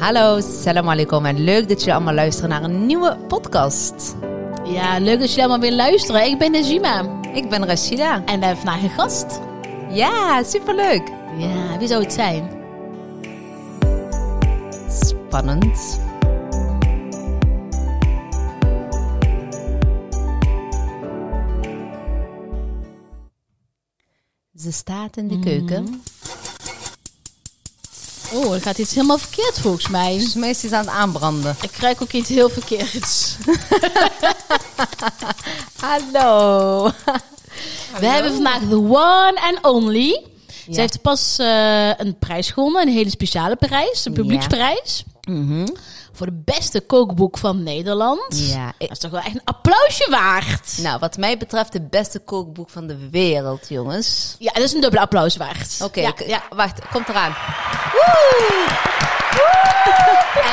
Hallo, salam alaikum en leuk dat jullie allemaal luisteren naar een nieuwe podcast. Ja, leuk dat jullie allemaal weer luisteren. Ik ben Najima Ik ben Rashida. en we hebben vandaag een gast. Ja, superleuk. Ja, wie zou het zijn? Spannend. Ze staat in de keuken. Oh, er gaat iets helemaal verkeerd volgens mij. Dus meestal is aan het aanbranden. Ik ruik ook iets heel verkeerds. Hallo. We hebben vandaag the one and only. Ze heeft pas eh, een prijs gewonnen, een hele speciale prijs, een publieksprijs. Mhm. Voor de beste kookboek van Nederland. Ja, ik- Dat is toch wel echt een applausje waard. Nou, wat mij betreft de beste kookboek van de wereld, jongens. Ja, dat is een dubbele applaus waard. Oké, ja, ik- ja. wacht, komt eraan.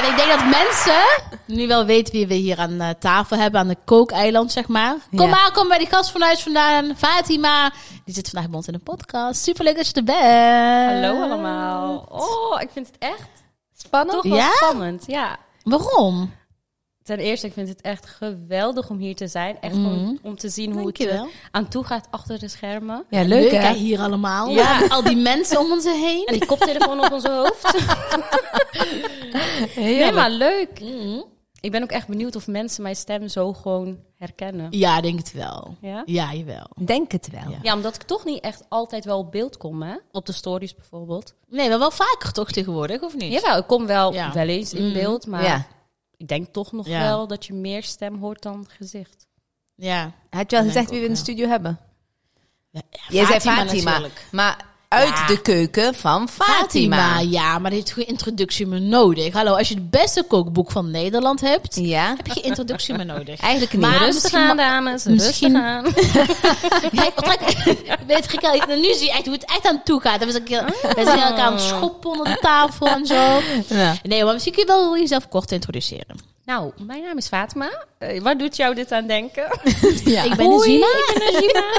En ik denk dat mensen nu wel weten wie we hier aan eh, tafel hebben, aan de kookeiland, zeg maar. Kom Ja. maar, kom bij die gast van huis vandaan, Fatima. Die zit vandaag bij ons in de podcast. Superleuk dat je er bent. Hallo allemaal. Oh, ik vind het echt Spannend? toch wel Ja? spannend. Ja. Waarom? Ten eerste, ik vind het echt geweldig om hier te zijn. Echt om, om te zien hoe het eh, Dankjewel. aan toe gaat achter de schermen. Ja, leuk, hè? hier allemaal. Ja. Met Al die mensen om ons heen. En die koptelefoon op onze hoofd. Nee, maar leuk. Ik ben ook echt benieuwd of mensen mijn stem zo gewoon herkennen. Ja, ik denk het wel. Ja? Ja, jawel. Denk het wel. Ja. Ja, omdat ik toch niet echt altijd wel op beeld kom, hè? Op de stories bijvoorbeeld. Nee, maar wel vaker toch tegenwoordig, of niet? Jawel, ik kom wel Ja. wel eens in beeld, maar Ja. ik denk toch nog Ja. wel dat je meer stem hoort dan gezicht. Ja. Had je wel Dat denk gezegd ik wie we ook, in de ja. studio hebben? Ja, Jij zei Fatima. natuurlijk. Maar uit Ja. de keuken van Fatima. Fatima, ja, maar dit heeft geen introductie meer nodig. Hallo, als je het beste kookboek van Nederland hebt, Ja, heb je geen introductie meer nodig. eigenlijk niet. Maar- Ah, rustig misschien aan, ma- dames. misschien- Rustig aan. Ja, ik trek, weet je, kijk, nu zie je echt hoe het echt aan toe gaat. Dan was ik heel- We zijn elkaar aan het schoppen onder de tafel en zo. Ja. Nee, maar misschien kun je wel jezelf kort introduceren. Nou, mijn naam is Fatma. Eh, waar doet jou dit aan denken? Ja. Ik ben Najima. ik ben Najima.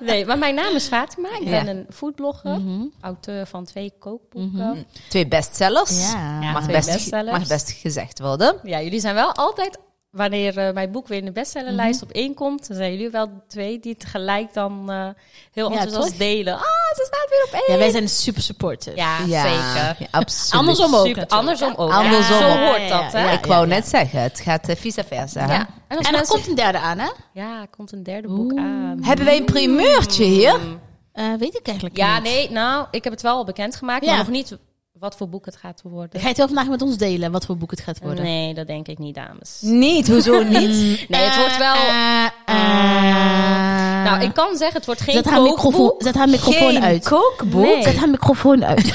nee, maar mijn naam is Fatma. Ik Ja. ben een foodblogger, auteur van twee kookboeken. Twee bestsellers. Ja. Ja, mag, twee best, bestsellers. mag best gezegd worden. Ja, jullie zijn wel altijd, wanneer eh, mijn boek weer in de bestsellerlijst op één komt, dan zijn jullie wel twee die tegelijk dan eh, heel Ja, enthousiast toch? delen. Ah, ze staat weer op één. Ja, wij zijn super supportive. Ja, Ja, zeker. ja, absoluut. Andersom ook. Super, natuurlijk. andersom ook. Andersom Zo ook. hoort dat, hè? Ja, ik wou net zeggen, het gaat eh, vice versa. hè? Ja. En als En er mensen- komt een derde aan, hè? ja, er komt een derde boek aan. Hebben wij een primeurtje hier? Eh, weet ik eigenlijk Ja, niet. nee, nou, ik heb het wel al bekendgemaakt, Ja. maar nog niet wat voor boek het gaat worden. Ga je het wel vandaag met ons delen, wat voor boek het gaat worden? Nee, dat denk ik niet, dames. Niet, hoezo niet? Nee, het wordt wel... Eh, eh. Nou, ik kan zeggen, het wordt geen zet, haar microfoon, kookboek. zet haar microfoon Geen uit. kookboek? Nee. Zet haar microfoon uit.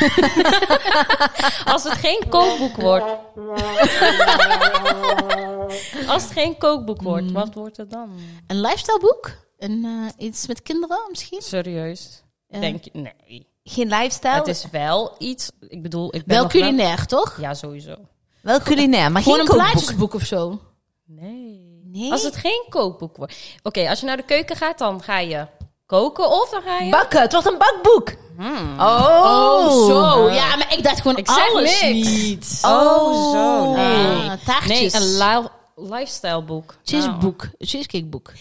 Als het geen kookboek wordt... Als het geen kookboek wordt, Mm. wat wordt het dan? een lifestyle boek? Een, eh, iets met kinderen misschien? Serieus? Eh. Denk je? Nee. Geen lifestyle? Het is wel iets... Ik bedoel, ik ben Nou, Wel nog wel- culinair, toch? Ja, sowieso. Wel culinair, maar Gewoon geen een kookboek. plaatjesboek of zo. Nee. Nee. Als het geen kookboek wordt. Oké, als je naar de keuken gaat, dan ga je koken of dan ga je... Bakken, het wordt een bakboek. Oh. Oh, zo. Ja, maar ik dacht gewoon Ik zeg alles niks. niet. Oh, zo. Nee. Ah, taartjes. Nee, een li- lifestyleboek. Cheeseboek. Cheesecakeboek. Nou.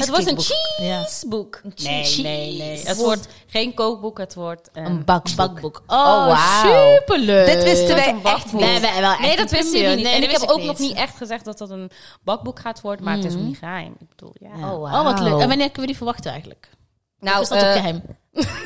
het wordt een Ja. cheeseboek. Nee, cheese- nee, nee. Het wordt geen kookboek, het wordt... eh, Een bakboek. Oh, Oh, wauw. superleuk. Dit wisten wij een echt bakboek. niet. Nee, wij wel echt Nee, dat wisten jullie niet. Nee, en dat ik heb wist ook nog niet echt gezegd dat dat een bakboek gaat worden, maar het is ook niet geheim. Ik bedoel, ja. Oh, Oh, wat leuk. wauw. En wanneer kunnen we die verwachten eigenlijk? Nou, Of is dat ook eh, geheim?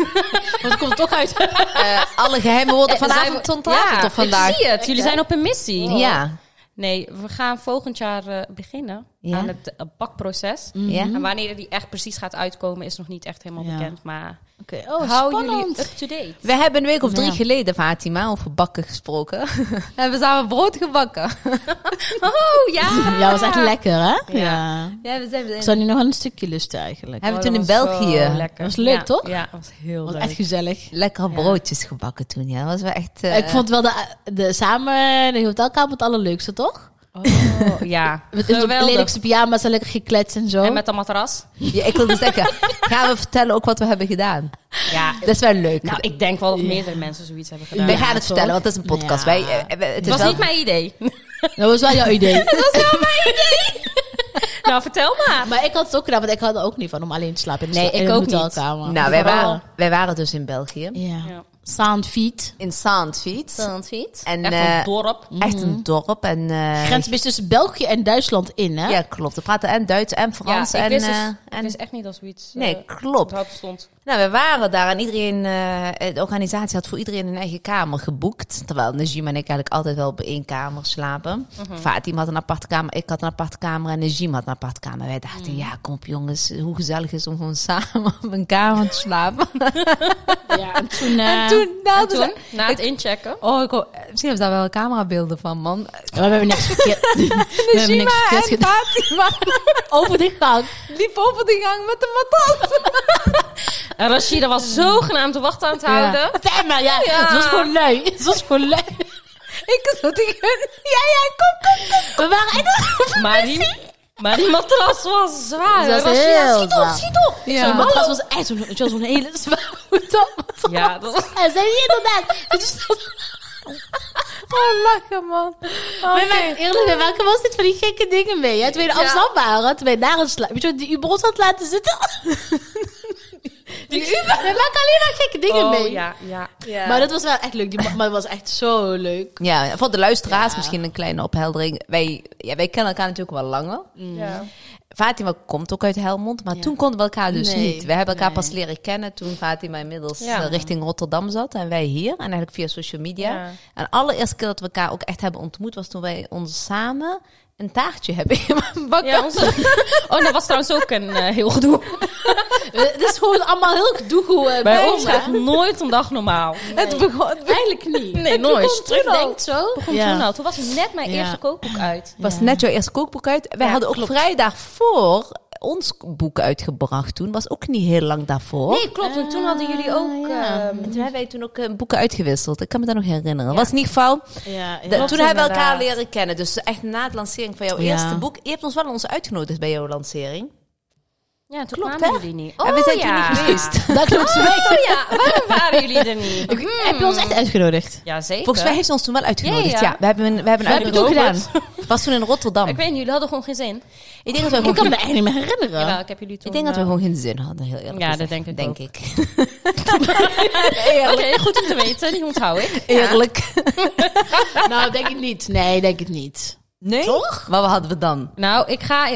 Want het komt toch uit. Eh, alle geheimen worden eh, zijn vanavond we- ontlaten ja, tot vandaag. ik zie het. Jullie zijn op een missie. Ja. Oh. Nee, we gaan volgend jaar eh, beginnen Ja. aan het eh, bakproces. Ja. En wanneer die echt precies gaat uitkomen, is nog niet echt helemaal Ja. bekend. Maar Oké, oh, hou spannend. jullie up to date. We hebben een week of drie Ja. geleden, Fatima, over bakken gesproken. hebben we samen brood gebakken. Oh ja! Ja, was echt lekker, hè? Ja. Ja, we zijn... Ik zou nu nog wel een stukje lusten eigenlijk. Oh, Hebben we toen in België Dat was leuk, ja, toch? Ja, dat was heel was leuk. echt gezellig. lekker broodjes gebakken toen. Ja, dat was wel echt... eh, ik vond wel de, de samen de hotelkamer het allerleukste, toch? Oh, ja, Met onze geweldig. lelijkste pyjama's en lekker gekletst en zo. En met een matras. ja, ik wilde zeggen, gaan we vertellen ook wat we hebben gedaan? Ja, Dat is wel leuk. nou, ik denk wel dat meerdere mensen zoiets hebben gedaan. Wij gaan het toch? vertellen, want het is een podcast. Ja. Wij, eh, eh, het Het is was wel- niet mijn idee. Dat was wel jouw idee. nou, vertel maar. maar ik had het ook gedaan, want ik had er ook niet van om alleen te slapen. in de Nee, sla- ik in de ook niet. hotelkamer. Nou, wij Vooral- waren, wij waren dus in België. Ja. Ja. Sound feet. In Sandfiet. En Echt eh, een dorp. echt een dorp. En, eh, Grens is tussen België en Duitsland in, hè? ja, klopt. We praten en Duits en Frans. ja, ik en, wist, dus- eh, ik en, wist echt niet dat zoiets Nee, eh, klopt. überhaupt stond. Nou, we waren daar en iedereen, eh, de organisatie had voor iedereen een eigen kamer geboekt. Terwijl Najima en ik eigenlijk altijd wel op één kamer slapen. Mhm. Fatima had een aparte kamer, ik had een aparte kamer en Najima had een aparte kamer. Wij dachten, Mhm. ja, kom op jongens, hoe gezellig is het om gewoon samen op een kamer te slapen. Ja, en toen... eh, en toen, nou, En toen, na het inchecken, Oh, ik, hoor- eh, misschien hebben ze daar wel camerabeelden van, man. We hebben niks verkeerd... we hebben niks Najima verkeerd en gedaan. Fatima Over de gang. liep over de gang met de matras. en Rashida was zogenaamd de wacht aan het houden. Ja. Femma, ja. Ja. Het was gewoon lui. Het was gewoon lui. ik zat tegen ja, ja, kom, kom, kom. We waren echt... Maar, die, maar die matras was zwaar. Dat was Rashida, heel schiet op, zwaar. schiet op. Ja. Zo'n matras was echt zo'n het was zo'n hele zware topmatras. Ja, dat was... En zei je inderdaad... Het is Oh, lachen, man. Wij waren- eerlijk, bij welke was dit van die gekke dingen mee? Hè? Toen we in Ja. Amsterdam waren, toen wij daar een slaap... Weet je wat die Uber ons had laten zitten? die Uber... Wij maken alleen maar gekke dingen Oh, mee. ja, ja. Maar dat was wel echt leuk. Die ma- maar dat was echt zo leuk. Ja, voor de luisteraars Ja. misschien een kleine opheldering. Wij, ja, wij kennen elkaar natuurlijk wel langer. ja. Fatima komt ook uit Helmond, maar Ja. toen konden we elkaar dus Nee, niet. We hebben elkaar nee. pas leren kennen toen Fatima inmiddels Ja. eh, richting Rotterdam zat en wij hier. En eigenlijk via social media. Ja. En de allereerste keer dat we elkaar ook echt hebben ontmoet was toen wij ons samen een taartje hebben gebakken. Ja, onze... Oh, dat was trouwens ook een eh, heel gedoe. Het is gewoon allemaal heel gedoe eh, Bij bij ons gaat nooit een dag normaal. Het begon... Eigenlijk niet. Nee, nooit. Terugdenk. Terugdenkt zo. Begon Ja. toen al. Toen was net mijn Ja. eerste kookboek uit. Het was net jouw eerste kookboek uit. Wij Ja, hadden ook klopt. vrij daarvoor ons boek uitgebracht toen. Was ook niet heel lang daarvoor. Nee, klopt. En toen hadden jullie Ah, ook... ja. ehm, En toen hebben wij toen ook eh, boeken uitgewisseld. Ik kan me dat nog herinneren. Was in ieder geval, Ja, de- ja. toen hebben we elkaar inderdaad. leren kennen. Dus echt na het lancering van jouw Ja. eerste boek. Je hebt ons wel eens uitgenodigd bij jouw lancering. Oh, ja, toen Klopt, kwamen hè? jullie niet. Oh, en we zijn ja. toen niet geweest. Dat klopt zo. Oh ja, waarom waren jullie er niet? Ik- Heb je ons echt uitgenodigd? Ja, zeker. Volgens mij heeft ze ons toen wel uitgenodigd. Ja, Ja, ja. we hebben een, we hebben een We hebben het ook uitnodiging was toen in Rotterdam. Ik weet niet, jullie hadden gewoon geen zin. Ik denk dat we gewoon, Ik kan geen, me echt niet meer herinneren. Jawel, ik heb jullie toen... ik denk dat we eh, gewoon geen zin hadden, heel eerlijk Ja, dat gezegd. denk ik ook. eerlijk. Oké, goed om te weten. Die onthoud ik. Eerlijk. Nou, denk ik niet. Nee, denk ik niet. Nee? Toch? Maar wat hadden we dan? Nou, ik ga...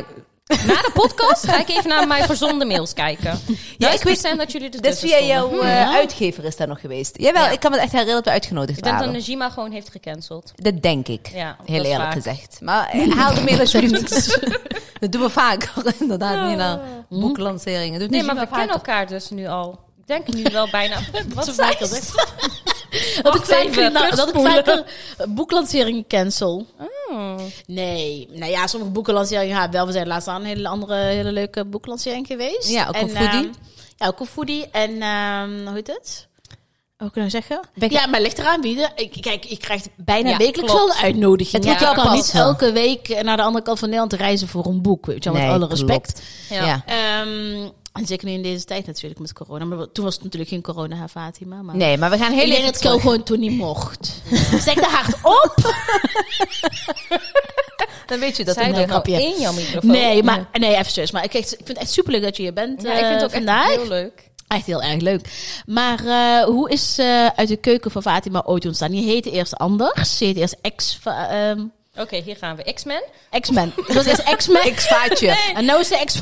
Na de podcast ga ik even naar mijn verzonden mails kijken. Ja, ik wist dat jullie er Dat is tussen via stonden. jouw eh, Ja. uitgever is daar nog geweest. Jawel, Ja. ik kan me echt herinneren dat we uitgenodigd Ik denk dat waren. Najima gewoon heeft gecanceld. Dat denk ik. Ja, Heel dat is eerlijk vaak. gezegd. Maar eh, haal de mail alsjeblieft. dat doen we vaker. Inderdaad, niet naar boeklanceringen. Doet Ah. Hm? Nee, niet maar we zo kennen vaak. elkaar dus nu al. Ik denk nu wel bijna. Wat vaak zei dat ze? Dat ik, vaak nou, even, dat ik terugspoelen. vaker boeklanceringen cancel. Oh. Nee. Nou ja, sommige boekenlanceringen ja, wel. We zijn laatst aan een hele andere, hele leuke boeklancering geweest. Ja, ook En, op Foodie. ehm, ja, ook op Foodie. En ehm, hoe heet het? Hoe kan ik nou zeggen? Ben ik- Ja, maar ligt eraan wie de- ik, Kijk, ik krijg bijna Ja, wekelijks klopt. wel een uitnodiging. Het Ja, moet ik jou kan niet passen. elke week naar de andere kant van Nederland reizen voor een boek. Weet je, wel, met Nee, alle klopt. respect. Ja. Ja. Ehm, en zeker nu in deze tijd natuurlijk met corona. Maar toen was het natuurlijk geen corona, hè, Fatima. Maar Nee, maar we gaan heel ik denk even dat ik ook terug. gewoon toen niet mocht. Zeg de hart op! Dan weet je dat. Zij het- een er nou grapje. in jouw microfoon. Nee, maar, nee, even serieus. Maar ik, ik vind het echt superleuk dat je hier bent eh, Ja, ik vind het ook vandaag. echt heel leuk. Echt heel erg leuk. Maar eh, hoe is eh, uit de keuken van Fatima ooit ontstaan? Je heette eerst anders. Je heette eerst ex, Fa- ehm, Oké, hier gaan we. X-Men. X-Men. Het was eerst X-Men. X-vaatje. En nou is de x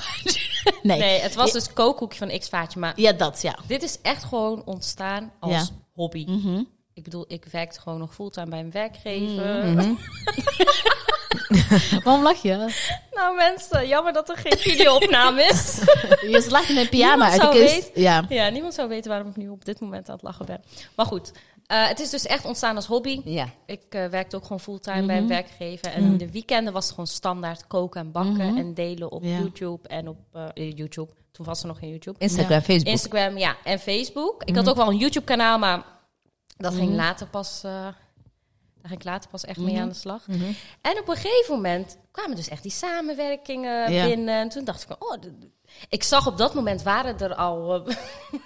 nee. Nee, het was dus kookhoekje van X-Vaatje. Maar Ja, dat, ja. dit is echt gewoon ontstaan als Ja. hobby. Ik bedoel, ik werkte gewoon nog fulltime bij een werkgever. Waarom lach je? Nou mensen, jammer dat er geen videoopname is. Je lacht in een pyjama Niemand uit de zou kist. weten. Ja. ja, niemand zou weten waarom ik nu op dit moment aan het lachen ben. Maar goed, eh, het is dus echt ontstaan als hobby. Ja. Ik eh, werkte ook gewoon fulltime bij Mhm. een werkgever. En in de weekenden was het gewoon standaard koken en bakken Mhm. en delen op Ja. YouTube en op eh, YouTube. Toen was er nog geen YouTube. Instagram, Facebook. Mhm. Instagram, ja, en Facebook. Ik had ook wel een YouTube kanaal, maar dat ging later pas. eh, daar ging ik later pas echt Mhm. mee aan de slag. En op een gegeven moment kwamen dus echt die samenwerkingen Ja. binnen. En toen dacht ik, van, oh, d- d- ik zag op dat moment waren er al eh,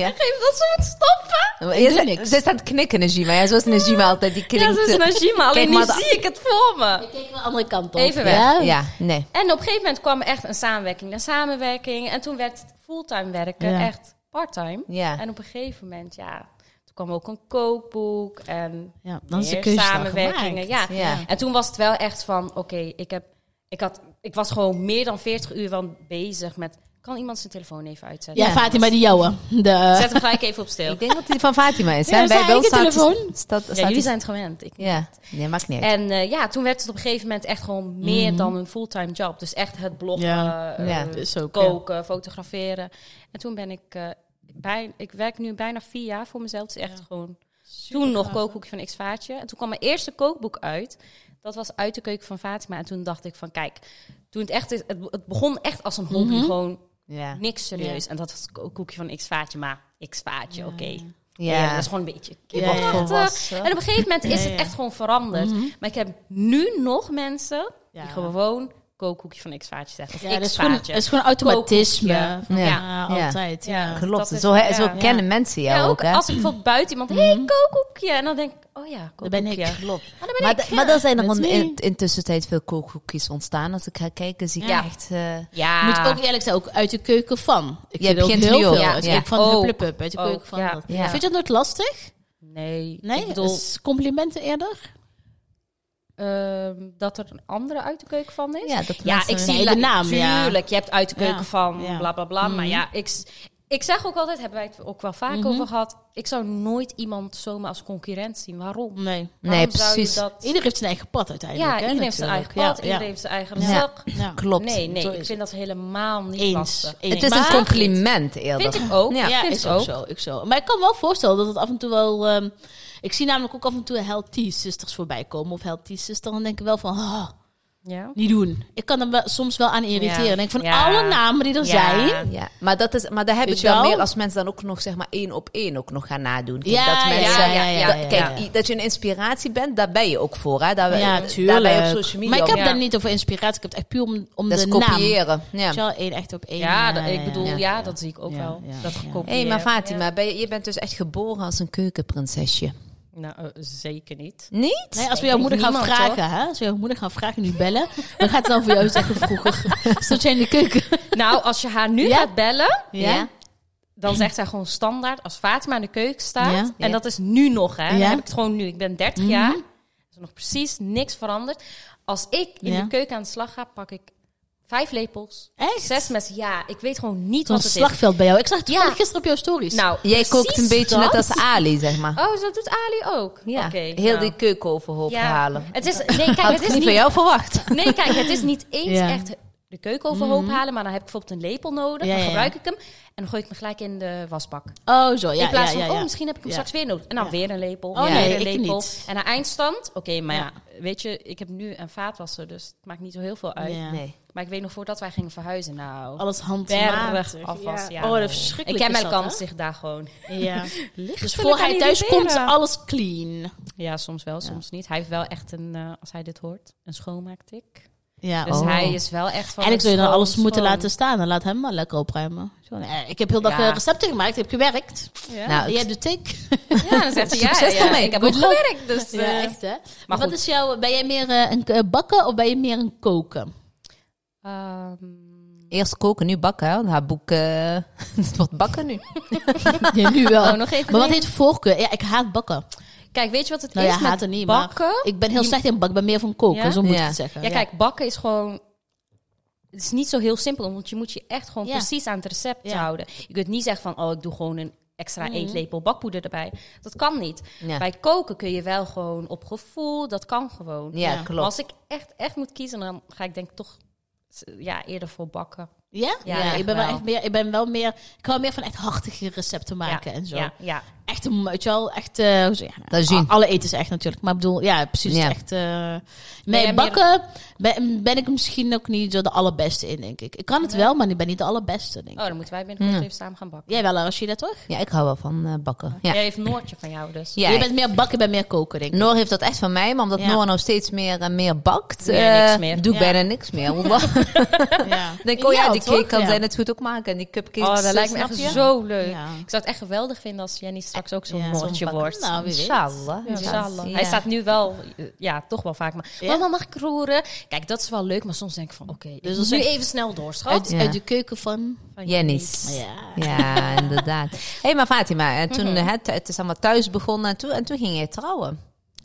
Ja. Geef dat ze moet stoppen. Je ze, ze staat knikken, Najima. Ja, zoals Najima altijd, die Ja, klinkt... zo is eh, Najima. Alleen Kijk nu maar de- zie ik het voor me. Ik keek de andere kant op. Even weg. Ja? Ja, nee. En op een gegeven moment kwam echt een samenwerking naar samenwerking. En toen werd het fulltime werken Ja. echt parttime. Ja. En op een gegeven moment, ja, toen kwam ook een kookboek en Ja, dan is de meer keuze daar samenwerkingen. gemaakt. Ja. Ja. En toen was het wel echt van, oké, ik heb, ik had, ik was gewoon meer dan 40 uur wel bezig met, kan iemand zijn telefoon even uitzetten? Ja, Ja. Fatima die jouwe. De... Zet hem gelijk even op stil. Ik denk dat die van Fatima is. Ja, hè? is Bij haar bij ons eigen staat- telefoon. staat- staat Ja, jullie die- zijn het gewend. Ik niet. Ja, nee, maakt niet uit. En eh, ja, toen werd het op een gegeven moment echt gewoon meer dan een fulltime job. Dus echt het bloggen, Mhm. Ja. eh, Ja. Dus ook, ja. koken, fotograferen. En toen ben ik, eh bij, ik werk nu bijna vier jaar voor mezelf. Het is echt gewoon, toen nog kookboekje van X-Vaartje. En toen kwam mijn eerste kookboek uit. Dat was Uit de Keuken van Fatima. En toen dacht ik van, kijk, toen het echt is, het, het begon echt als een hobby. Mhm. Gewoon Ja. niks serieus. En dat was het kookboekje van X-Vaartje, maar X-Vaartje, oké. Ja. dat Ja. is gewoon een beetje Ja, ja. kinderachtig. Volwassen. En op een gegeven moment is Ja, het ja. Mhm. echt gewoon veranderd. Maar ik heb nu nog mensen Ja. die gewoon kookhoekje van X-vaartje zeggen. Of Ja, dat is gewoon, dat X-vaartje. is gewoon automatisme. Kookhoekje. Van, Ja. Ja, Ja. altijd. Ja. Ja. Klopt, Dat is- zo, he- zo ja. kennen mensen jou Ja, ook, ook hè? als ik bijvoorbeeld buiten iemand, hé, hey, kookhoekje. En dan denk ik, oh ja, Daar kookhoekje. Mhm. ben ik. Ah, daar ben Maar, ik. d- maar er zijn er Met on- wie? in, intussen tijd veel kookhoekjes ontstaan. Als ik ga kijken, zie ik Ja. echt... eh, Ja. Moet ook eerlijk zijn, ook uit de keuken van. Ik Je vind ook begint heel nu al, veel. ja. uit de Ja. keuken van Ook. hup, hup, hup, uit de Ook, keuken van ja. dat. Ja. Vind je dat nooit lastig? Nee, Nee, dus- ik bedoel, Is complimenten eerder? ehm, dat er een andere uit de keuken van is. ja, dat Ja, mensen- ik zie Nee, de la- naam, ja. Tuurlijk, je hebt uit de keuken Ja, van ja. Mhm. bla bla bla. Maar ja, ik, s- ik zeg ook altijd, hebben wij het ook wel vaak over gehad. Ik zou nooit iemand zomaar als concurrent zien. Waarom? Nee. Nee, Waarom zou je precies. dat- Ieder heeft zijn eigen pad uiteindelijk. ja, hè, iedereen heeft zijn eigen natuurlijk. pad, Ja, iedereen ja. heeft zijn eigen Ja. zak. Ja. Klopt. Nee, nee, Zo ik is vind dat helemaal niet Eens. lastig. eens. het is een Maar- compliment eerder. Vind ik ook. Ja. Ja, vind is ik ook ook. zo, ik zo. Maar ik kan me wel voorstellen dat het af en toe wel... ehm, ik zie namelijk ook af en toe healthy sisters voorbij komen. Of healthy sisters. Dan denk ik wel van... ah, Ja. niet doen. Ik kan er wel, soms wel aan irriteren. Ja. Ik denk van Ja. alle namen die er Ja. zijn... Ja, maar, dat is, maar daar heb Weet ik je dan wel? meer als mensen dan ook nog zeg maar één op één ook nog gaan nadoen. Kijk, Ja, dat ja, mensen, ja, ja, dat- ja, ja. Kijk, i- dat je een inspiratie bent, daar ben je ook voor. Hè? Daar, Ja, Daar ben tuurlijk. je op social media. Maar ik heb om- Ja. daar niet over inspiratie. Ik heb het echt puur om, om dat de is naam. kopiëren. Ja. Weet je wel, één echt op één. Ja, eh, dat- ik bedoel, ja, ja, ja. dat zie ik ook Ja, wel. ja, dat ja. gekopieerd. Hé, maar Fatima, ben je, je bent dus echt geboren als een keukenprinsesje. Nou, eh, zeker niet. Niet? Nee, als we Ik jouw denk moeder gaan niemand, vragen, hè? Als we jouw moeder gaan vragen, nu bellen, dan gaat het dan voor jou zeggen vroeger. Stond jij in de keuken? nou, als je haar nu Ja. gaat bellen, Ja. dan zegt zij gewoon standaard als Fatima in de keuken staat. Ja. En dat is nu nog, hè. Dan Ja. Mhm. heb ik het gewoon nu. Ik ben 30 jaar. Er is nog precies niks veranderd. Als ik in Ja. de keuken aan de slag ga, pak ik vijf lepels, Echt? zes messen. Ja, ik weet gewoon niet Zo'n wat het is. slagveld bij jou. Ik zag het Ja. toevallig gisteren op jouw stories. Nou, Jij kookt een precies beetje net dat. als Ali, zeg maar. Oh, zo doet Ali ook? Ja, Oké, heel nou. die keuken overhoop halen. Het is, nee, kijk, Had ik het niet is van niet, jou verwacht. nee, kijk, het is niet eens Ja. Mhm. echt de keuken overhoop halen, maar dan heb ik bijvoorbeeld een lepel Ja, nodig, dan ja, ja. gebruik ik hem en dan gooi ik me gelijk in de wasbak. oh, zo, ja. in plaats ja, ja, van, oh, ja. misschien heb ik hem Ja. straks weer nodig. En dan Ja. weer een lepel, Oh, weer nee, een ik lepel. niet. En naar eindstand, oké, maar Ja. ja. weet je, ik heb nu een vaatwasser, dus het maakt niet zo heel veel uit. Ja. Nee. Maar ik weet nog voordat wij gingen verhuizen, nou... Alles handmatig. Berg afwas, ja. Oh, dat is verschrikkelijk. Ik ken is mijn dat, kant zich daar gewoon. hè? Ja. Dus wil voor ik aan hij thuis komt, irriteren. alles clean. Ja, soms wel, soms niet. Hij heeft wel echt een, eh, als hij dit hoort, een schoonmaaktik. Ja, Dus Oh. hij is wel echt van. Eigenlijk zou je dan schoon, alles moeten schoon. laten staan en laat hem maar lekker opruimen. Zo, nee, ik heb heel dag Ja. eh, recepten gemaakt, heb gewerkt. Ja. Nou, Jij doet ik. ja, dan zegt hij ja, Succes ja, ermee. Ik heb ook Good luck. gewerkt. Dus, Ja, eh, echt hè. Maar, maar wat goed. is jouw, ben jij meer eh, een k- bakken of ben je meer een koken? ehm, eerst koken, nu bakken. Hè? want Haar boek, eh, het wordt bakken nu. Ja, nu wel. Oh, nog even maar wat nee. heet voorkeur? Ja, ik haat bakken. kijk, weet je wat het Nou is ja, haat het met niet, bakken? maar ik ben heel slecht in bakken. Ik ben meer van koken, Ja? zo moet Ja. ik het zeggen. Ja, kijk, bakken is gewoon... Het is niet zo heel simpel, want je moet je echt gewoon Ja. precies aan het recept Ja. Mm. houden. Je kunt niet zeggen van, oh, ik doe gewoon een extra eetlepel bakpoeder erbij. Dat kan niet. Ja. Bij koken kun je wel gewoon op gevoel, dat kan gewoon. Ja, Ja. Maar klopt. als ik echt, echt moet kiezen, dan ga ik denk ik toch ja, eerder voor bakken. Ja? Ja, Ja, echt ik ben wel wel. echt meer, ik ben wel meer, ik hou meer van echt hartige recepten maken en zo. Ja, ja. echt een, weet je wel, echt, eh, hoe zeg je nou, Dat is zien. Alle eten is echt natuurlijk, maar ik bedoel, ja, precies, Ja. echt. eh Ben jij nee, meer- bakken ben, ben ik er misschien ook niet zo de allerbeste in, denk ik. Ik kan het wel, maar ik ben niet de allerbeste, denk ik. Oh, dan moeten wij binnenkort even samen gaan bakken. Jij wel, Rashida, toch? Ja, ik hou wel van eh, bakken. Ja. Jij heeft Noortje van jou dus. Ja, Je ik- bent meer bakken, bij meer koken, denk ik. Noor heeft dat echt van mij, maar omdat Ja. Noor nou steeds meer en meer bakt, Doe jij niks eh, meer. doe ik Ja. bijna niks meer. Want dan Ja. denk ik, oh ja, Ideaal, die toch? cake kan Ja. zij net goed ook maken. En die cupcakes. Oh, dat eh, lijkt me snap echt je? zo leuk. Ja. Ik zou het echt geweldig vinden als Jenny straks ook zo'n Ja, zo'n Noortje bakker. wordt. Nou, wie weet. Inshallah. Ja, inshallah. Ja. Dus Hij staat nu wel, eh, ja, toch wel vaak. Maar Ja. mama, mag ik roeren? Kijk, dat is wel leuk, maar soms denk ik van, oké, Dus dus dat dus is nu echt- even snel door, schat. Uit, Ja. uit de keuken van... Van Jenny's. Ja. Ja, inderdaad. Hé, hey, maar Fatima, en toen, Mhm. eh, het, het is allemaal thuis begonnen en toen, en toen ging jij trouwen.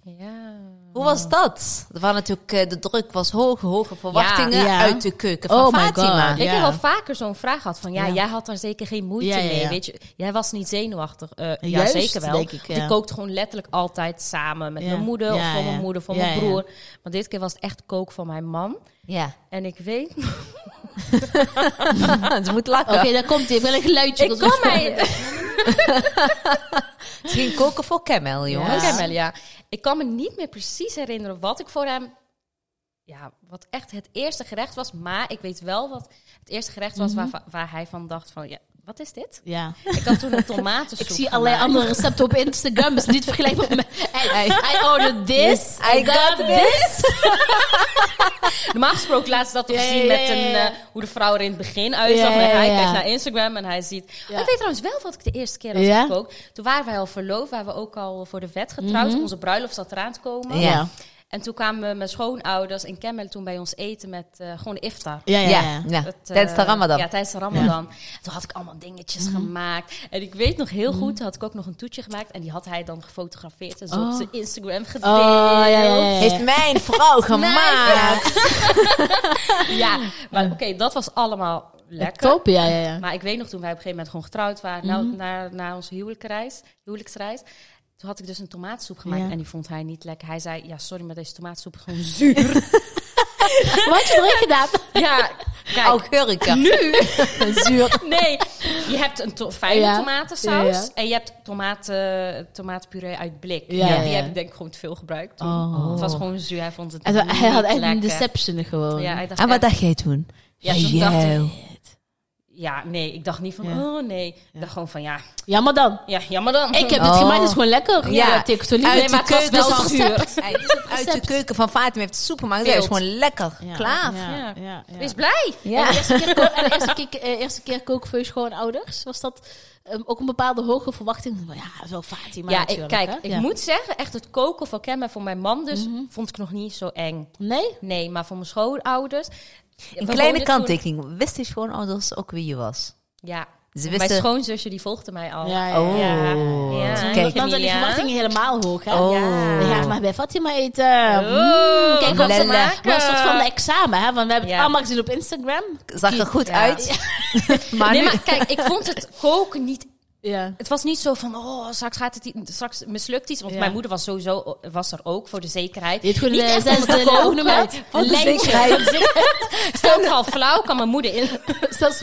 Ja. Hoe was dat? Er waren natuurlijk, eh, de druk was hoog, hoge verwachtingen Ja. uit de keuken van Oh my Fatima. God. Ik heb Ja. wel vaker zo'n vraag gehad van, ja, Ja. jij had daar zeker geen moeite Ja, ja, mee, ja. weet je. Jij was niet zenuwachtig. Eh, ja, Juist, zeker wel. denk ik, Want ja. kookte gewoon letterlijk altijd samen met Ja. mijn moeder of Ja, voor mijn ja. moeder, voor Ja, mijn ja. broer. Maar dit keer was het echt kook van mijn man. Ja, En ik weet ze moet lachen. Oké, daar komt hij. Ik wil een geluidje. Ik kan mij... Het ging koken voor Camel, jongens. Oké, Mel, ja. Ik kan me niet meer precies herinneren wat ik voor hem... Ja, wat echt het eerste gerecht was. Maar ik weet wel wat het eerste gerecht was Mhm. waar, waar hij van dacht van... Ja, wat is dit? Ja. Ik had toen een tomatensoep Ik zie gemaakt. allerlei andere recepten op Instagram. is niet vergelijkbaar met... I, I ordered this. I got this. Normaal gesproken laatst dat we Ja, ja, gezien ja, met een, ja, ja. eh, hoe de vrouw er in het begin uitzag. Ja, ja, En hij ja. kijkt naar Instagram en hij ziet... Ja. Oh, ik weet trouwens wel wat ik de eerste keer had Ja? gekookt. Toen waren wij al verloofd, waren we ook al voor de wet getrouwd. Mhm. Onze bruiloft zat eraan te komen. Ja. En toen kwamen mijn schoonouders in Kemmel toen bij ons eten met eh, gewoon iftar. Ja, ja, Ja, ja. ja. Het, eh, tijdens de ramadan. Ja, tijdens de ramadan. Toen had ik allemaal dingetjes Mhm. gemaakt. En ik weet nog heel goed, toen had ik ook nog een toetje gemaakt. En die had hij dan gefotografeerd en zo op Oh. zijn Instagram gedeeld. Oh, ja, ja, ja. Heeft mijn vrouw gemaakt. Ja, maar oké, dat was allemaal lekker. Top, Mhm. ja, ja, ja. Maar ik weet nog, toen wij op een gegeven moment gewoon getrouwd waren, nou, na, na onze huwelijksreis, huwelijksreis, toen had ik dus een tomaatsoep gemaakt Ja. en die vond hij niet lekker. Hij zei, ja, sorry, maar deze tomaatsoep is gewoon zuur. Wat had je erin gedaan? ja, kijk. Ook hurken. Nu? Zuur. Nee, je hebt een to- fijne Ja. tomatensaus Ja, ja. en je hebt tomaten, tomatenpuree uit blik. Ja, Ja, ja, die ja. heb ik denk ik gewoon te veel gebruikt toen. Oh. Het was gewoon zuur, hij vond het Hij niet had echt een lekker. deception gewoon. Ja, Ja, hij dacht En wat echt- dacht jij toen? Ja, toen dacht ik- Jeeuw. ja, nee, ik dacht niet van, Ja. oh nee. Ik dacht gewoon van, ja, maar dan. ja jammer dan. Ik heb Oh. het gemaakt, het is gewoon lekker. Ja. Ja, ik zo Uit liever. de keuken het wel was zuur. recept. Hij is het uit de keuken van Fatima heeft soep gemaakt. Dat is Wild. gewoon lekker. Klaar. Ja, ja, ja. Wees blij. En de Ja. eerste keer, ko- en de eerste keer, eh, eerste keer koken voor je schoonouders, was dat ehm, ook een bepaalde hoge verwachting? Nou Ja, zo Fatima ja, ik, natuurlijk. kijk, hè? ik Ja. Mhm. moet zeggen, echt het koken van Kem en voor mijn man dus, vond ik nog niet zo eng. Nee? Nee, maar voor mijn schoonouders... we Een woonden kleine toen- kanttekening. Wist je schoonouders ook wie je was? Ja, Ze mijn wisten... schoonzusje die volgde mij al. Ja, ja, Oh. ja. Ja, Kijk. Dan zijn die Emilia. verwachtingen helemaal hoog, hè? Oh. Ja. We gaan maar bij Fatima eten. Oeh, Kijk, Oh, wat wat ze lala. maken. Maar een soort van de examen, hè? Want we hebben Ja. het allemaal gezien op Instagram. Zag er goed Ja. uit. maar Nee, nu- maar kijk, ik vond het koken niet... Ja. Het was niet zo van, oh, straks, gaat het, i- straks mislukt iets. Want Ja. mijn moeder was sowieso was er ook, voor de zekerheid. Je hebt gewoon Niet een echt om zesde, te eh, hoe noem je koken. het? Wat Een een lijntje. zekerheid. Stel ik al flauw, kan mijn moeder in. Zelfs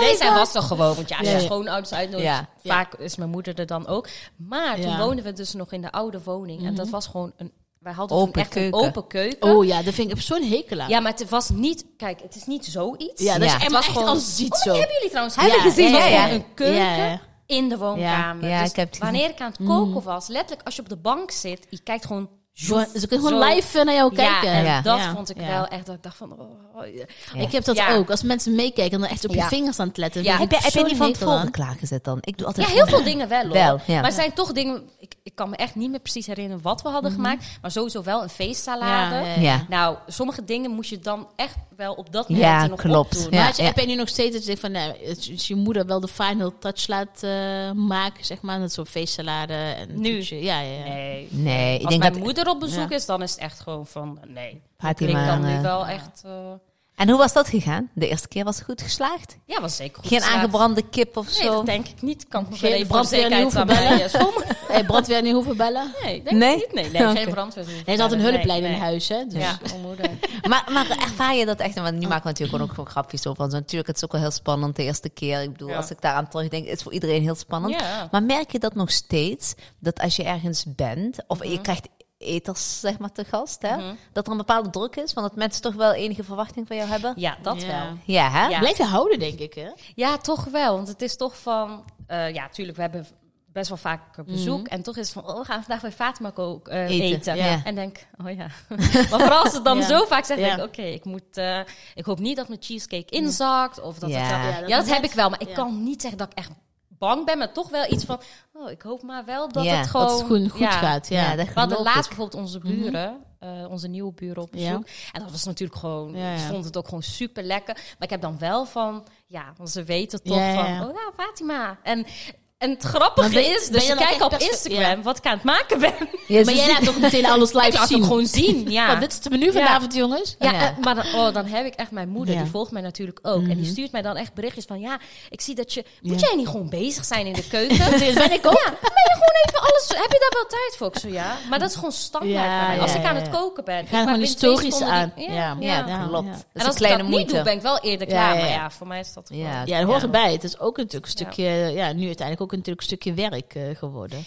nee, zij was er gewoon. Want ja, als Oh Ja, je ja. schoonouders uitnodigt, Ja. vaak is mijn moeder er dan ook. Maar toen Ja. Mhm. woonden we dus nog in de oude woning. En dat was gewoon een... Wij hadden Open toen echt keuken. een open keuken. Oh ja, dat vind ik op zo'n hekel aan. Ja, maar het was niet... Kijk, het is niet zoiets. Ja, dat Ja. is Het echt, was echt gewoon- als ziet Oh, zo. Hebben jullie trouwens Hebben Ja, gezien? ja, Ja, ja. ja. een keuken Ja, ja. in de woonkamer. Ja, Dus ik heb het gezien. wanneer ik aan het Mm. koken was, letterlijk als je op de bank zit, je kijkt gewoon. Gewoon- Ze kunnen gewoon Zo. live eh, naar jou Ja, kijken. en Ja. dat Ja. vond ik Ja. wel echt. Dat ik dacht van. oh, oh, ja. Ik heb dat Ja. ook. Als mensen meekijken en dan echt op je Ja. vingers aan het letten. Ja. heb vind ik je, heb je zo'n niet van hekel tevoren aan. klaargezet dan? Ik doe Ja, altijd... heel veel dingen wel hoor. Wel, ja. Maar er zijn toch dingen. Ik, ik kan me echt niet meer precies herinneren wat we hadden gemaakt. Maar sowieso wel een feestsalade. Mhm. Ja, ja, Ja. Nou, sommige dingen moest je dan echt wel op dat Ja, moment er nog klopt. opdoen. Ja, maar als je, ja. heb je nu nog steeds dat je denkt van, nee, als je- als je moeder wel de final touch laat eh, maken, zeg maar, met zo'n feestsalade en Nu? toetje. Ja, ja, ja. Nee. Nee, ik Als denk mijn dat... moeder op bezoek is, dan is het echt gewoon van nee. Gaat Ik die kan maar, nu eh, wel echt. eh, En hoe was dat gegaan? De eerste keer was het goed geslaagd? Ja, was zeker goed. Geen geslaagd. aangebrande kip of Nee, zo? dat denk ik niet. Kan ik me Geen geen even voor de brandweer zekerheid niet aan hoeven bellen. mijn schoonmoeder- Hey, brandweer niet hoeven bellen. Nee, denk Nee? ik niet. Nee, nee Oké. geen brandweer. hoeven Hij had een bellen. hulplijn Nee, in nee. huis, hè? Dus. Ja, mijn moeder. maar, maar ervaar je dat echt? Want nu maken we natuurlijk gewoon ook gewoon grapjes over. Want natuurlijk, het is ook wel heel spannend de eerste keer. Ik bedoel, Ja. als ik daaraan terugdenk, is het voor iedereen heel spannend. Ja. Maar merk je dat nog steeds? Dat als je ergens bent, of Mhm. je krijgt eters, zeg maar, te gast, hè? Dat er een bepaalde druk is, want dat mensen toch wel enige verwachting van jou hebben? Ja, dat Ja. wel. Ja, hè? Ja. Blijf je houden, denk ik, hè? Ja, toch wel. Want het is toch van... eh, ja, tuurlijk, we hebben best wel vaak bezoek. En toch is het van, oh, we gaan vandaag bij Fatima ko- eh, Eten, eten. ja. En denk, oh ja. maar vooral als het dan Ja. zo vaak zegt, denk Ja. ik, oké, ik moet... eh, ik hoop niet dat mijn cheesecake inzakt. Of dat Ja. het wel- Ja, ja. dat dat, is heb ik wel. Maar ik ja. kan niet zeggen dat ik echt bang ben. Maar toch wel iets van, oh, ik hoop maar wel dat Ja, het gewoon... Dat het gewoon goed ja. gaat, ja. Ja, dat We hadden geloof laatst ik. bijvoorbeeld onze buren, eh, onze nieuwe buren op Ja. bezoek. En dat was natuurlijk gewoon, Ja, ik ja. vond het ook gewoon super lekker. Maar ik heb dan wel van, ja, want ze weten toch Ja, ja, ja. van, oh ja, Fatima. En, en het Maar grappige ben- is, ben dus je je dan kijkt echt op perso- Instagram wat ik aan het maken ben. Ja, ze Maar jij zien- laat toch meteen alles Ik live laat Dus het zien? gewoon zien, ja. Oh, dit is het menu vanavond, jongens. Ja, Ja. en- maar dan, oh, dan heb ik echt mijn moeder, Ja. Mhm. die volgt mij natuurlijk ook. En die stuurt mij dan echt berichtjes van, ja, ik zie dat je... Moet Ja. jij niet gewoon bezig zijn in de keuken? Dat ben ik ook. Ja, ben je gewoon even alles... Heb je daar wel tijd voor? Ik zo, ja. Maar dat is gewoon standaard Ja, bij mij. Als ja, ik ja, aan ja. het koken ben... Gaan gewoon maak die binnen twee stories seconden aan. die- Ja. Ja, Ja, klopt. ja. Dat is En een als kleine ik dat moeite. niet doe, ben ik wel eerder Ja, klaar. ja, Maar ja. ja, voor mij is dat gewoon... Ja. Ja, Ja, dat hoort Ja. erbij. Het is ook natuurlijk een Ja. stukje, ja, nu uiteindelijk ook natuurlijk een stukje werk eh, geworden.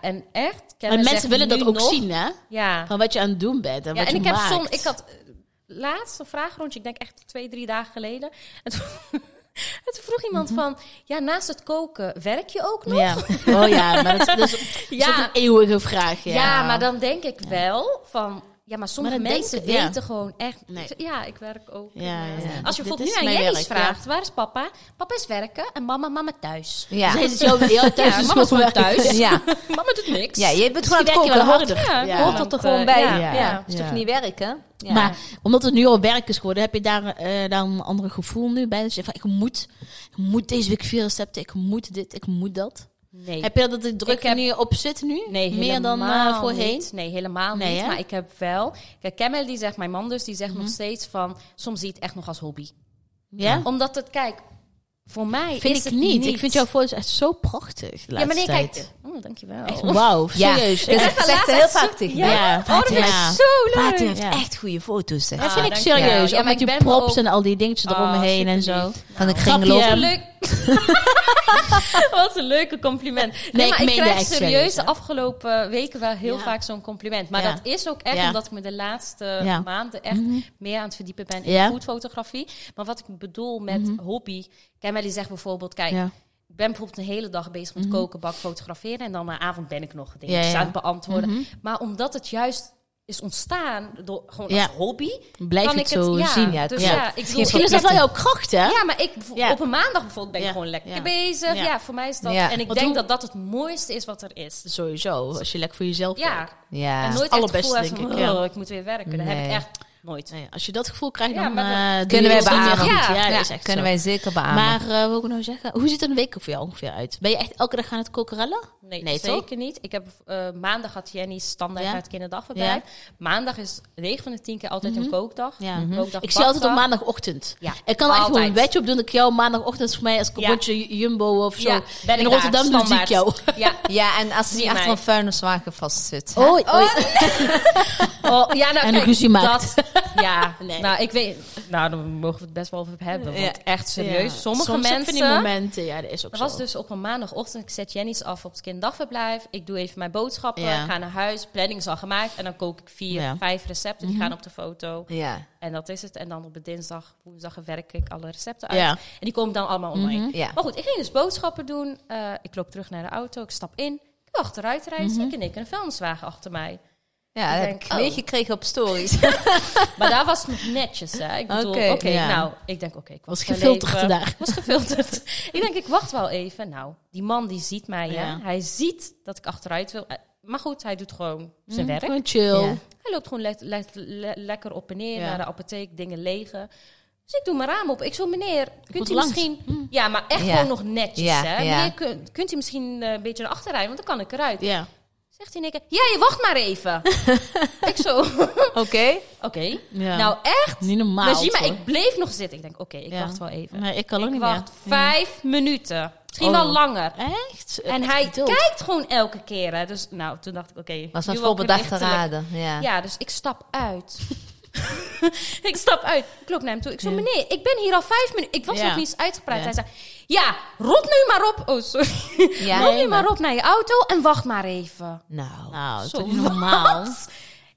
en echt... Maar Kevin mensen zegt willen dat nu ook nog- zien, hè? Ja. Van wat je aan het doen bent en ja wat en je ik heb maakt. soms... Ik had eh, laatst een vraagrondje, ik denk echt twee, drie dagen geleden. En toen, en toen vroeg iemand Mhm. van... Ja, naast het koken, werk je ook nog? Ja. Oh ja, maar dat, dat is Ja. dat is een eeuwige vraag. Ja, Ja, maar dan denk ik wel van... Ja, maar sommige Maar dan mensen denken- ja. weten gewoon echt... Nee. Ja, ik werk ook. Ja, En, ja, eh, ja. Als je Dit is bijvoorbeeld nu aan mijn Jenny's werk, ja. vraagt... Waar is papa? Papa is werken en mama, mama thuis. Ja. Zij is jou, jou thuis dus Ja, is mama is gewoon werk. thuis. Ja. Mama doet niks. Ja, je bent gewoon aan Misschien het werk je wel koken. Hoort, harder. Ja, Ja. hoort dat er Want, gewoon eh, bij? ja. Ja. Ja. Is toch Ja. niet werken? Ja. Maar omdat het nu al werk is geworden, heb je daar, eh, daar een ander gevoel nu bij? Dus je van, ik moet, ik moet deze week vier recepten, ik moet dit, ik moet dat. Nee. Heb je dat de druk Ik heb- nu op zit nu? Nee, Meer dan eh, helemaal voorheen? niet. Nee, helemaal Nee, niet. hè? Mhm. Maar ik heb wel... Kijk, Camel, die zegt, mijn man dus, die zegt nog steeds van... Soms zie je het echt nog als hobby. Ja? Omdat het, kijk... Voor mij Vind ik is het niet. Ik vind jouw foto's echt zo prachtig de Ja, maar nee, laatste kijk... tijd. Oh, dankjewel. Echt wauw, Ja. serieus. Dus Ja. het zegt heel vaak tegen Ja, mij. Ja, oh, dat vind ik ja. zo leuk. Pater heeft Ja. echt goede foto's, zeg. Dat vind Ah, ik dankjewel. serieus. Ja, ook maar met ik die ben props ook- en al die dingetjes eromheen Oh, en zo. superlief. Van de Grapje. kringloop. Leuk. Ehm, Wat een leuke compliment. Nee, Nee, maar ik ik, meen krijg echt serieus, serieus hè? de afgelopen weken wel heel Ja. vaak zo'n compliment. Maar Ja. dat is ook echt Ja. omdat ik me de laatste Ja. Mhm. maanden echt meer aan het verdiepen ben in Ja. Mhm. foodfotografie. Maar wat ik bedoel met hobby. Camille zegt bijvoorbeeld, kijk, Ja. ik ben bijvoorbeeld een hele dag bezig met koken, bak, fotograferen. En dan naar avond ben ik nog Ja, dingen dus ja. Mhm. aan het beantwoorden. Maar omdat het juist is ontstaan door gewoon Ja. als hobby. Blijf kan het ik het- zo ja, zien. ja, dus klopt. ja, ik bedoel, Misschien is dat wel jouw kracht, hè? ja, maar ik, bijvo- Ja. op een maandag bijvoorbeeld ben ik Ja. gewoon lekker Ja. bezig. Ja. Ja. voor mij is dat. Ja. En ik Want denk hoe- dat dat het mooiste is wat er is. Dus Sowieso, als je lekker voor jezelf werkt. Ja. Ja. En nooit echt het allerbeste, gevoel hebben denk van, ik, ja. oh, ik moet weer werken. Dat heb Nee. ik echt nooit. Nee, als je dat gevoel krijgt, Ja, dan maar dan- eh, doe Kunnen je wij het beamen. niet goed. Ja, Ja, dat ja. is echt Kunnen zo. wij zeker beamen. Maar eh, wat wil ik nou zeggen? Hoe ziet er een week voor jou ongeveer uit? Ben je echt elke dag aan het kokerellen? Nee, Nee, zeker toch? niet. Ik heb, eh, maandag had Jenny standaard Ja. Mhm. naar het kinderdagverblijf. Maandag is 9 van de 10 keer altijd een kookdag. Ja. Een kookdag Ik zie altijd op bakdag. maandagochtend. Ja, Ik kan er echt gewoon een altijd. wedje op doen dat ik jou maandagochtend voor mij als kokontje jumbo of zo. Ja, ben In ik Rotterdam daar, doe ik standaard. jou. Ja. ja, en als ze niet Zie achter mij. een vuilniswagen vastzit. hè? Oh, oh. Oh, ja, nou, En kijk, ruzie maakt. dat- ja, Nee. nou, ik weet, nou, daar mogen we het best wel over hebben. Want Ja. echt serieus, Ja, sommige soms heb je mensen... die momenten, ja, dat is ook Dat zo. was dus op een maandagochtend. Ik zet Jenny's af op het kinddagverblijf. Ik doe even mijn boodschappen. Ja. Ga naar huis. Planning is al gemaakt. En dan kook ik vier, Ja. Mhm. vijf recepten. Die gaan op de foto. Ja. En dat is het. En dan op de dinsdag, woensdag werk ik alle recepten uit. Ja. Mhm. En die komen dan allemaal online. Ja. Maar goed, ik ging dus boodschappen doen. Eh, ik loop terug naar de auto. Ik stap in. Ik wil achteruit Mhm. rijden. Zie ik in één keer een vuilniswagen achter mij. Ja, dat Ik heb ik denk, oh. meegekregen op stories. Maar daar was het nog netjes, hè. Ik bedoel, Oké, oké, ja. nou, ik denk, oké, ik Was wacht wel gefilterd even. vandaag. Was gefilterd. ik denk, ik wacht wel even. Nou, die man die ziet mij, hè. Ja. Hij ziet dat ik achteruit wil. Eh, Maar goed, hij doet gewoon zijn werk. Gewoon chill. Ja. Hij loopt gewoon le- le- le- lekker op en neer Ja. naar de apotheek, dingen legen. Dus ik doe mijn raam op. Ik zo, meneer, moet kunt u langs. Hm. misschien... Ja, maar echt Ja. gewoon nog netjes, Ja, hè. ja. Meneer, kun- kunt u misschien eh, een beetje naar achter rijden, want dan kan ik eruit. Ja. Zegt hij niks. Ja, je wacht maar even. ik zo, oké. Oké. Ja. Nou echt. Niet normaal. Najima, toch? ik bleef nog zitten. Ik denk, oké, ik Ja. wacht wel even. Nee, ik kan ook ik niet wacht meer. Ja. vijf minuten. Misschien Oh. wel langer. Echt? En Echt hij geduld. kijkt gewoon elke keer. Hè. Dus nou, toen dacht ik, oké. Was nu wat wel voorbedachte gerichtelijk. raden. Ja. Ja, dus ik stap uit. ik stap uit. Klok naar hem toe. Ik zo, meneer, ik ben hier al vijf minuten. Ik was Ja. nog niet eens uitgepraat. Ja. Hij zei, ja, rot nu maar op. Oh, sorry. Ja. rot Nee, nu maar maar- op naar je auto en wacht maar even. Nou. Nou, Zo, toch niet normaal. wat?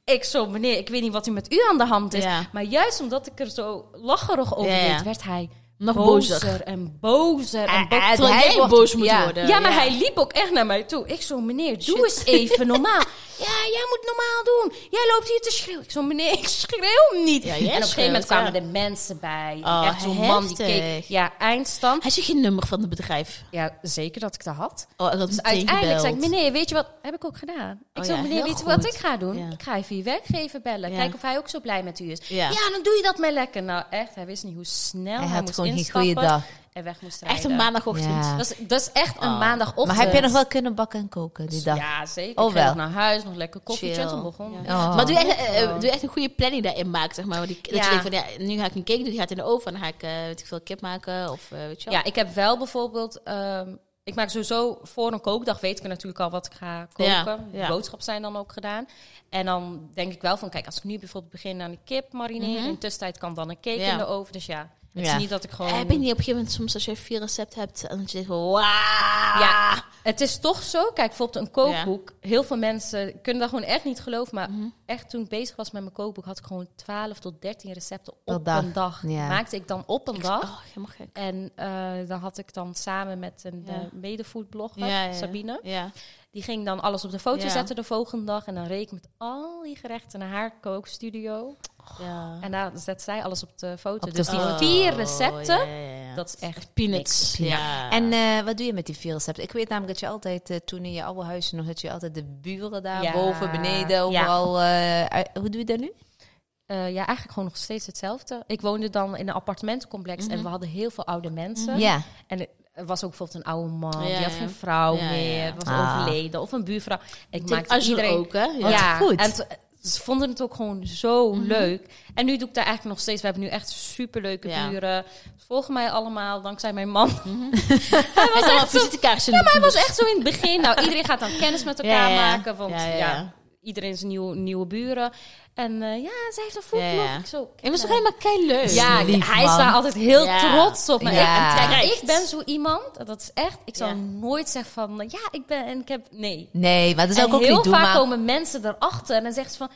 Ik zo, meneer, ik weet niet wat er met u aan de hand is. Ja. Maar juist omdat ik er zo lacherig over Ja, ja. deed, werd hij Nog Ah, bozer, bozer. en bozer en Eh, eh, bozer. Terwijl hij jij wordt- boos moet ja. worden. Ja, maar hij liep ook echt naar mij toe. Ik zo, meneer, doe eens even normaal. Ja, jij moet normaal doen. Jij loopt hier te schreeuwen. Ik zo, meneer, ik schreeuw hem niet. Ja, jij en op een gegeven moment schreeuwt, kwamen ja. de mensen bij. Oh, echt zo'n man die heftig. keek. Ja, eindstand. Hij zegt geen nummer van het bedrijf. Ja, zeker dat ik dat had. Oh, dat Dus uiteindelijk zei ik, meneer, weet je wat? Heb ik ook gedaan. Ik Oh zei, ja, meneer, heel weet je wat goed. ik ga doen? Ja. Ik ga even je werkgever bellen. Ja. Kijken of hij ook zo blij met u is. Ja. Ja. dan doe je dat maar lekker. Nou, echt, hij wist niet hoe snel hij, Hij had moest gewoon geen instappen. goede dag. En weg moest rijden. Echt een maandagochtend. Ja. Dat is, dat is echt een Oh. maandagochtend. Maar heb je nog wel kunnen bakken en koken die dag? Ja, zeker. Oh, ik ging wel. nog naar huis, nog lekker koffie. Chill. En toen begon. Ja. Oh. Maar doe echt, eh, eh, doe echt een goede planning daarin maken, zeg maar. want Die, Dat Ja. je denkt van, ja, nu ga ik een cake doen, die gaat in de oven. En dan ga ik, eh, weet ik veel, kip maken of eh, weet je wel. ik heb wel bijvoorbeeld... ehm, ik maak sowieso voor een kookdag weet ik natuurlijk al wat ik ga koken. Ja, De ja. boodschap zijn dan ook gedaan. En dan denk ik wel van, kijk, als ik nu bijvoorbeeld begin aan de kip marineren... in de tussentijd kan dan een cake Mhm. Ja. in de oven. Dus ja, het Ja. is niet dat ik gewoon... Eh, ben je niet op een gegeven moment soms als je vier recepten hebt en dat je denkt van, wauw. Ja, het is toch zo. Kijk, bijvoorbeeld een kookboek. Heel veel mensen kunnen dat gewoon echt niet geloven. Maar Mhm. echt toen ik bezig was met mijn kookboek... had ik gewoon 12 tot 13 recepten Per op dag. een dag. Ja. Maakte ik dan op een dag. Oh, helemaal gek. En eh, dan had ik dan samen met een Ja. eh, medefoodblogger, Ja, ja. Sabine. Ja. Die ging dan alles op de foto Ja. zetten de volgende dag. En dan reed ik met al die gerechten naar haar kookstudio. Oh. ja. En daar zet zij alles op de foto. Op de dus die foto. vier Oh, recepten, ja, ja, ja. dat is echt Peanuts. Ja. En eh, wat doe je met die vier recepten? Ik weet namelijk dat je altijd, eh, toen in je oude huizen nog, dat je altijd de buren daar Ja. boven, beneden, Ja. overal... eh, uit- hoe doe je dat nu? Eh, ja, eigenlijk gewoon nog steeds hetzelfde. Ik woonde dan in een appartementencomplex Mhm. en we hadden heel veel oude mensen. Ja. En er was ook bijvoorbeeld een oude man, Ja, die had ja. geen vrouw Ja, ja, meer, ja. was Ah. overleden of een buurvrouw. Ik Dit maakte Azure iedereen ook, hè? Wat Ja, goed. en t- ze vonden het ook gewoon zo Mhm. leuk. En nu doe ik daar eigenlijk nog steeds. We hebben nu echt superleuke Ja. buren. Ze volgen mij allemaal, dankzij mijn man. Hij was echt echt zo- visitekaartje. Maar hij was echt zo in het begin. Nou, iedereen gaat dan kennis met Ja, elkaar ja. maken. Want ja, Ja, ja, ja. iedereen is nieuwe, nieuwe buren. En eh, ja, zij heeft een voetblog. Ja, ja. Ik zo, Hij was toch kijk helemaal kei leuk. nou. ja, Lief, hij is man. daar altijd heel Ja. trots op. Maar Ja. ik, kijk, Terecht. ik ben zo iemand, dat is echt, ik zou Ja. nooit zeggen van, ja, ik ben en ik heb, nee. Nee, maar dat zou en ik ook heel niet doen. vaak Maar, komen mensen erachter en dan zeggen ze van,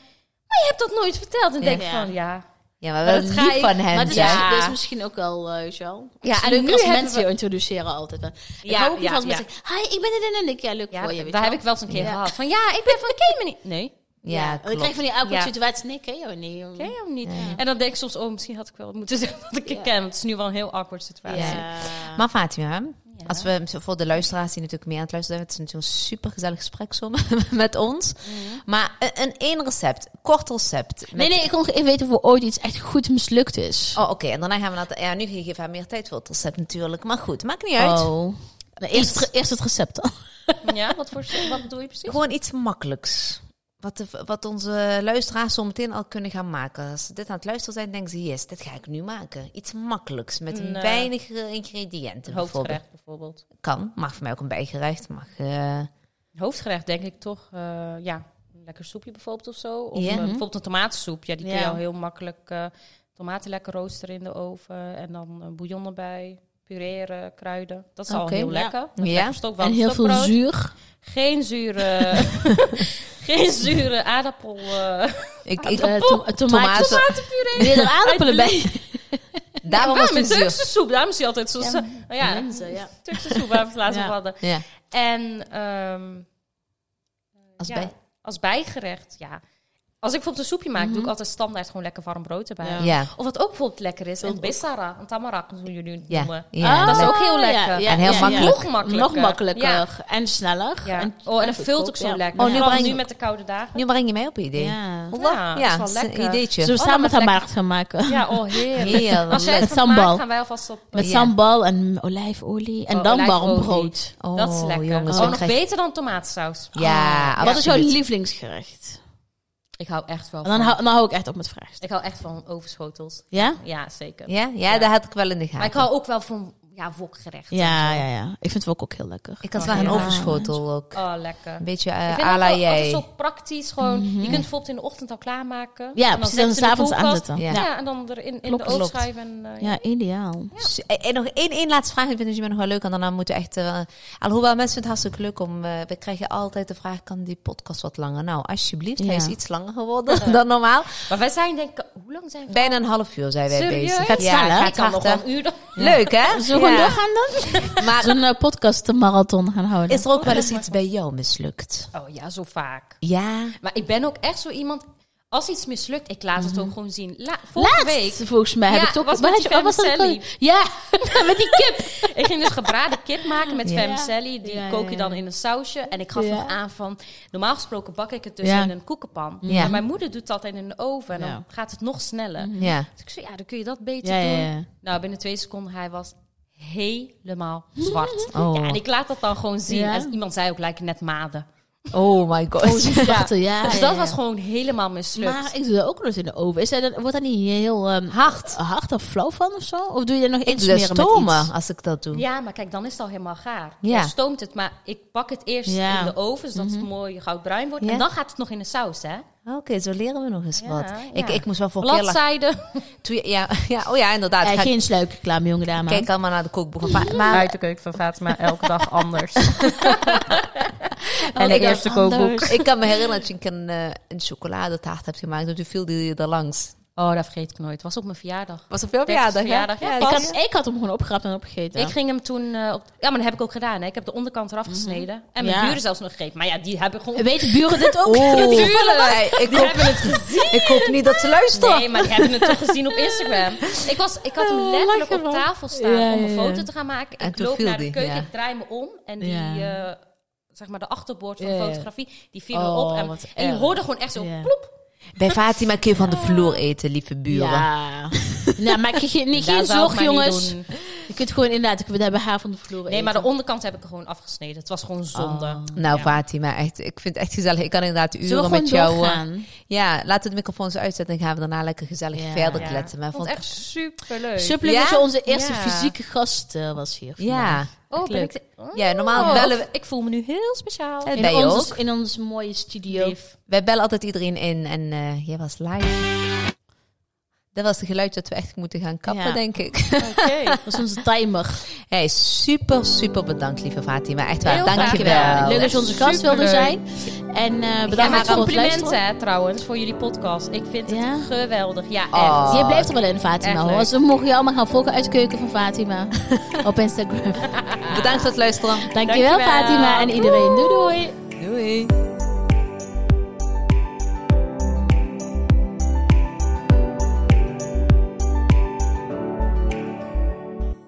maar je hebt dat nooit verteld. En Ja. denk ik Ja. van, ja, ja, maar maar wel dat ga lief ik- van Maar hem. dat is, Ja. Ja. dat is misschien ook wel, eh, weet je wel. Ja, Ja, en en leuk nu als hebben mensen we- je introduceren altijd. wel. Ik Ja, hou ook niet ja, van als mensen ja. zeggen, hi, ik ben dit en dit. Ik, Ja, leuk ja voor je, weet daar je heb ik wel eens een keer Ja. gehad. Van, ja, ik ben van, ik ken je me niet. Nee, Ja, En dan klopt. krijg je van die awkward Ja. situatie, nee, ik ken jou niet. ken je hem niet. En dan denk ik soms, oh, misschien had ik wel moeten zeggen dat ik je Mm. Ja. ken. Want het is nu wel een heel awkward situatie. Ja. Maar Fatima, als we voor de luisteraars die natuurlijk meer aan het luisteren zijn, het is natuurlijk een supergezellig gesprek zo met ons. Maar een, een één recept, kort recept. met- Nee, nee, ik wil even weten of er ooit iets echt goed mislukt is. Oh, oké. En daarna gaan we naar... de- Ja, nu geef haar meer tijd voor het recept natuurlijk. Maar goed, maakt niet uit. Oh. Nou, eerst, het re- eerst het recept dan. Ja, wat, voor, wat bedoel je precies? Gewoon iets makkelijks. Wat, de, wat onze luisteraars zo meteen al kunnen gaan maken. Als ze dit aan het luisteren zijn, denken ze... Yes, dit ga ik nu maken. Iets makkelijks, met Een, eh, weinig eh, ingrediënten Een bijvoorbeeld. hoofdgerecht bijvoorbeeld. Kan, mag voor mij ook een bijgerecht. Mag, eh, Een hoofdgerecht denk ik toch, eh, ja, een lekker soepje bijvoorbeeld of zo. Of Ja. eh, bijvoorbeeld een tomatensoep. Ja, die kun je Ja. al heel makkelijk eh, tomaten lekker roosteren in de oven. En dan een bouillon erbij, pureren, kruiden. Dat is al Oké, heel ja. lekker. Ja. Stok, en heel veel zuur. zuur. Geen zure, geen zure aardappel. eh ik, Ik, ik, eh, to- eh, tomaten. tomatenpuree. Wil je er aardappelen bij? daarom ja, was met het zuur. Turkse soep. Daarom is hij altijd zo... Ja, zo- ja, mensen, ja. Turkse soep waar we het laatst Ja. over hadden. Ja, En ehm, als ja, bij. als bijgerecht, ja. Als ik bijvoorbeeld een soepje maak, doe ik altijd standaard gewoon lekker warm brood erbij. Ja. Ja. Of wat ook bijvoorbeeld lekker is, een Vind ik bissara, een tamarak, hoe jullie het Ja. noemen. Ja. Ah, dat is ook heel lekker. En heel makkelijk. Nog makkelijker. Nog makkelijker. Ja. En sneller. Ja. En, oh, en dat vult ook zo Ja. lekker. Oh, nu Vooral breng nu je- met de koude dagen. Nu breng je mij op een idee. ja. Ja, Ja, dat dat is is wel een lekker. ideetje. Zullen we Oh, samen dat met mag haar lekker. maart gaan maken? Ja, oh heerlijk. Heerlijk. Als jij het Met gaat maken, sambal. gaan wij alvast op. Met Ja. sambal en olijfolie. En Oh, dan olijfolie. warm brood. Oh, dat is lekker. Jongens, oh, we nog krijgen- beter dan tomatensaus. Ja, Oh. Wat is jouw absoluut. lievelingsgerecht? Ik hou echt wel En dan van- hou, dan hou ik echt op met vragen. Ik hou echt van overschotels. Ja? Ja, zeker. Ja? ja, daar had ik wel in de gaten. Maar ik hou ook wel van ja, wokgerechten. Ja, ja, ja. Ik vind wok ook heel lekker. Ik had wel een Ja. overschotel ook. Oh, lekker. Een beetje Ik eh vind à la dat wel jij. altijd zo praktisch. Gewoon, Je kunt het bijvoorbeeld in de ochtend al klaarmaken. Ja, en dan precies, en zet je het in s'avonds de koelkast. aanzetten. Ja. Ja. en dan er in, in Klopt. de oven schuiven. En, eh, Ja, ideaal. S- En en nog één, één laatste vraag, ik vind het nog wel leuk. En daarna moeten we echt... eh, alhoewel, mensen vinden het hartstikke leuk om... eh, we krijgen altijd de vraag, kan die podcast wat langer? Nou, alsjeblieft, hij Ja. is iets langer geworden dan normaal. Maar wij zijn denk ik, hoe lang zijn we? Bijna een half uur zijn wij Serieus? bezig. Gaat snel, hè? gaat Ik Ik kan nog hard, wel hè? een uur. dan- Leuk, hè? Zullen we Ja. gewoon doorgaan dan? Maar Zo'n eh, podcast, een marathon gaan houden. is er ook wel eens iets bij jou mislukt? Oh ja, zo vaak. Ja. Maar ik ben ook echt zo iemand, als iets mislukt, ik laat het ook gewoon zien. La, vorige Laatst, week, volgens mij, heb Ja, ik toch... was waar met had die oh, was dat Femme ook- Ja, met die kip. ik ging dus gebraden kip maken met Ja. vermicelli. Die Ja, kook ja, je ja. dan in een sausje. En ik gaf Ja. nog aan van, normaal gesproken bak ik het dus Ja. in een koekenpan. Ja. Maar mijn moeder doet het altijd in de oven en dan Ja. Mhm. gaat het nog sneller. Ja. Dus ik zei, ja, dan kun je dat beter Ja, doen. ja, ja. Nou, binnen twee seconden, hij was helemaal zwart. Oh. Ja, en ik laat dat dan gewoon zien. Mhm. Ja. En iemand zei ook, lijken net maden. Oh my god. Oh, die zwarte, ja. Dus ja, dat ja. was gewoon helemaal mislukt. Maar ik doe dat ook nog eens in de oven. Is dat, dan- wordt dat niet heel ehm, hard? hard of flauw van of zo? Of doe je er nog Ik iets doe dat meer Dus stomen als ik dat doe. Ja, maar kijk, dan is het al helemaal gaar. Ja. Dan stoomt het, maar ik pak het eerst Ja. Mhm. in de oven, zodat het mooi goudbruin wordt. Ja. En dan gaat het nog in de saus, hè? Oké, zo leren we nog eens Ja, wat. Ik, ja. ik moest wel voor keer lachen. Bladzijden. Toen je- Ja, ja, oh ja, inderdaad. Ga ik- Eh, geen sluikreclame, jonge dame. Kijk allemaal naar de kookboek. van Va- Maar de keuken van Fatima, elke dag anders. en Oh, de eerste kookboek. ik kan me herinneren dat je een, keer een, eh, een chocoladetaart hebt gemaakt. En toen viel die er langs. Oh, dat vergeet ik nooit. Het was op mijn verjaardag. Was op jouw Dertigste verjaardag, hè? verjaardag, ja. Ik had, ik had hem gewoon opgerapt en opgegeten. Ik ging hem toen... eh, op... Ja, maar dat heb ik ook gedaan. Hè. Ik heb de onderkant eraf gesneden. En mijn Ja. buren zelfs nog gegeten. Maar ja, die hebben gewoon... Weten buren dit ook? Oeh, Tuurlijk! ik Die hoop, Oh. hebben het gezien. ik hoop niet dat ze luisteren. Nee, maar die hebben het toch gezien op Instagram. Ik, was, ik had hem Oh, letterlijk lachen man. op tafel staan Ja, om een ja, ja. foto te gaan maken. En ik toen loop viel naar de die, keuken, ja. ik draai me om en die... Ja. eh, Zeg maar de achterboord van Ja, ja. fotografie, die viel Oh, erop. En, wat en je erg. hoorde gewoon echt zo Ja. plop. Bij Fatima kun je van de vloer eten, lieve buren. Ja. nou, maar ge- ge- niet, Daar geen zou zorg, ik maar niet jongens. doen. Je kunt gewoon inderdaad, ik- we hebben haar van de vloer Nee, eten. maar de onderkant heb ik er gewoon afgesneden. Het was gewoon zonde. Nou, Ja. Fatima, echt, ik vind het echt gezellig. Ik kan inderdaad Zullen we uren gewoon met jou... eh, doorgaan? Ja, laat de microfoons uitzetten en gaan we daarna lekker gezellig Ja. verder Ja. kletsen. Maar Ik vond het echt superleuk. Suppeling Ja? dat je onze eerste eh, Ja. fysieke gast eh, was hier vandaag. Ja. oh, ben leuk. ik- oh. ja, normaal bellen we... Ik voel me nu heel speciaal. En In, ben je ons, ook? in ons mooie studio. Lief. Wij bellen altijd iedereen in en eh, jij was live. Dat was het geluid dat we echt moeten gaan kappen, Ja. denk ik. Oké. Dat is onze timer. Hey, super, super bedankt, lieve Fatima. Echt Heel waar, graag dankjewel. gedaan. Leuk dat je onze gast wilde Superleuk. zijn. En eh, Ja, bedankt maar voor het luisteren. complimenten hè, trouwens voor jullie podcast. Ik vind het Ja? geweldig. Ja, echt. Oh. Je blijft er wel in, Echt Fatima. Hoor. leuk. Dus we mogen je allemaal gaan volgen uit Keuken van Fatima. op Instagram. Bedankt voor het luisteren. Dankjewel, Dankjewel. Fatima en iedereen. Doei doei. Doei.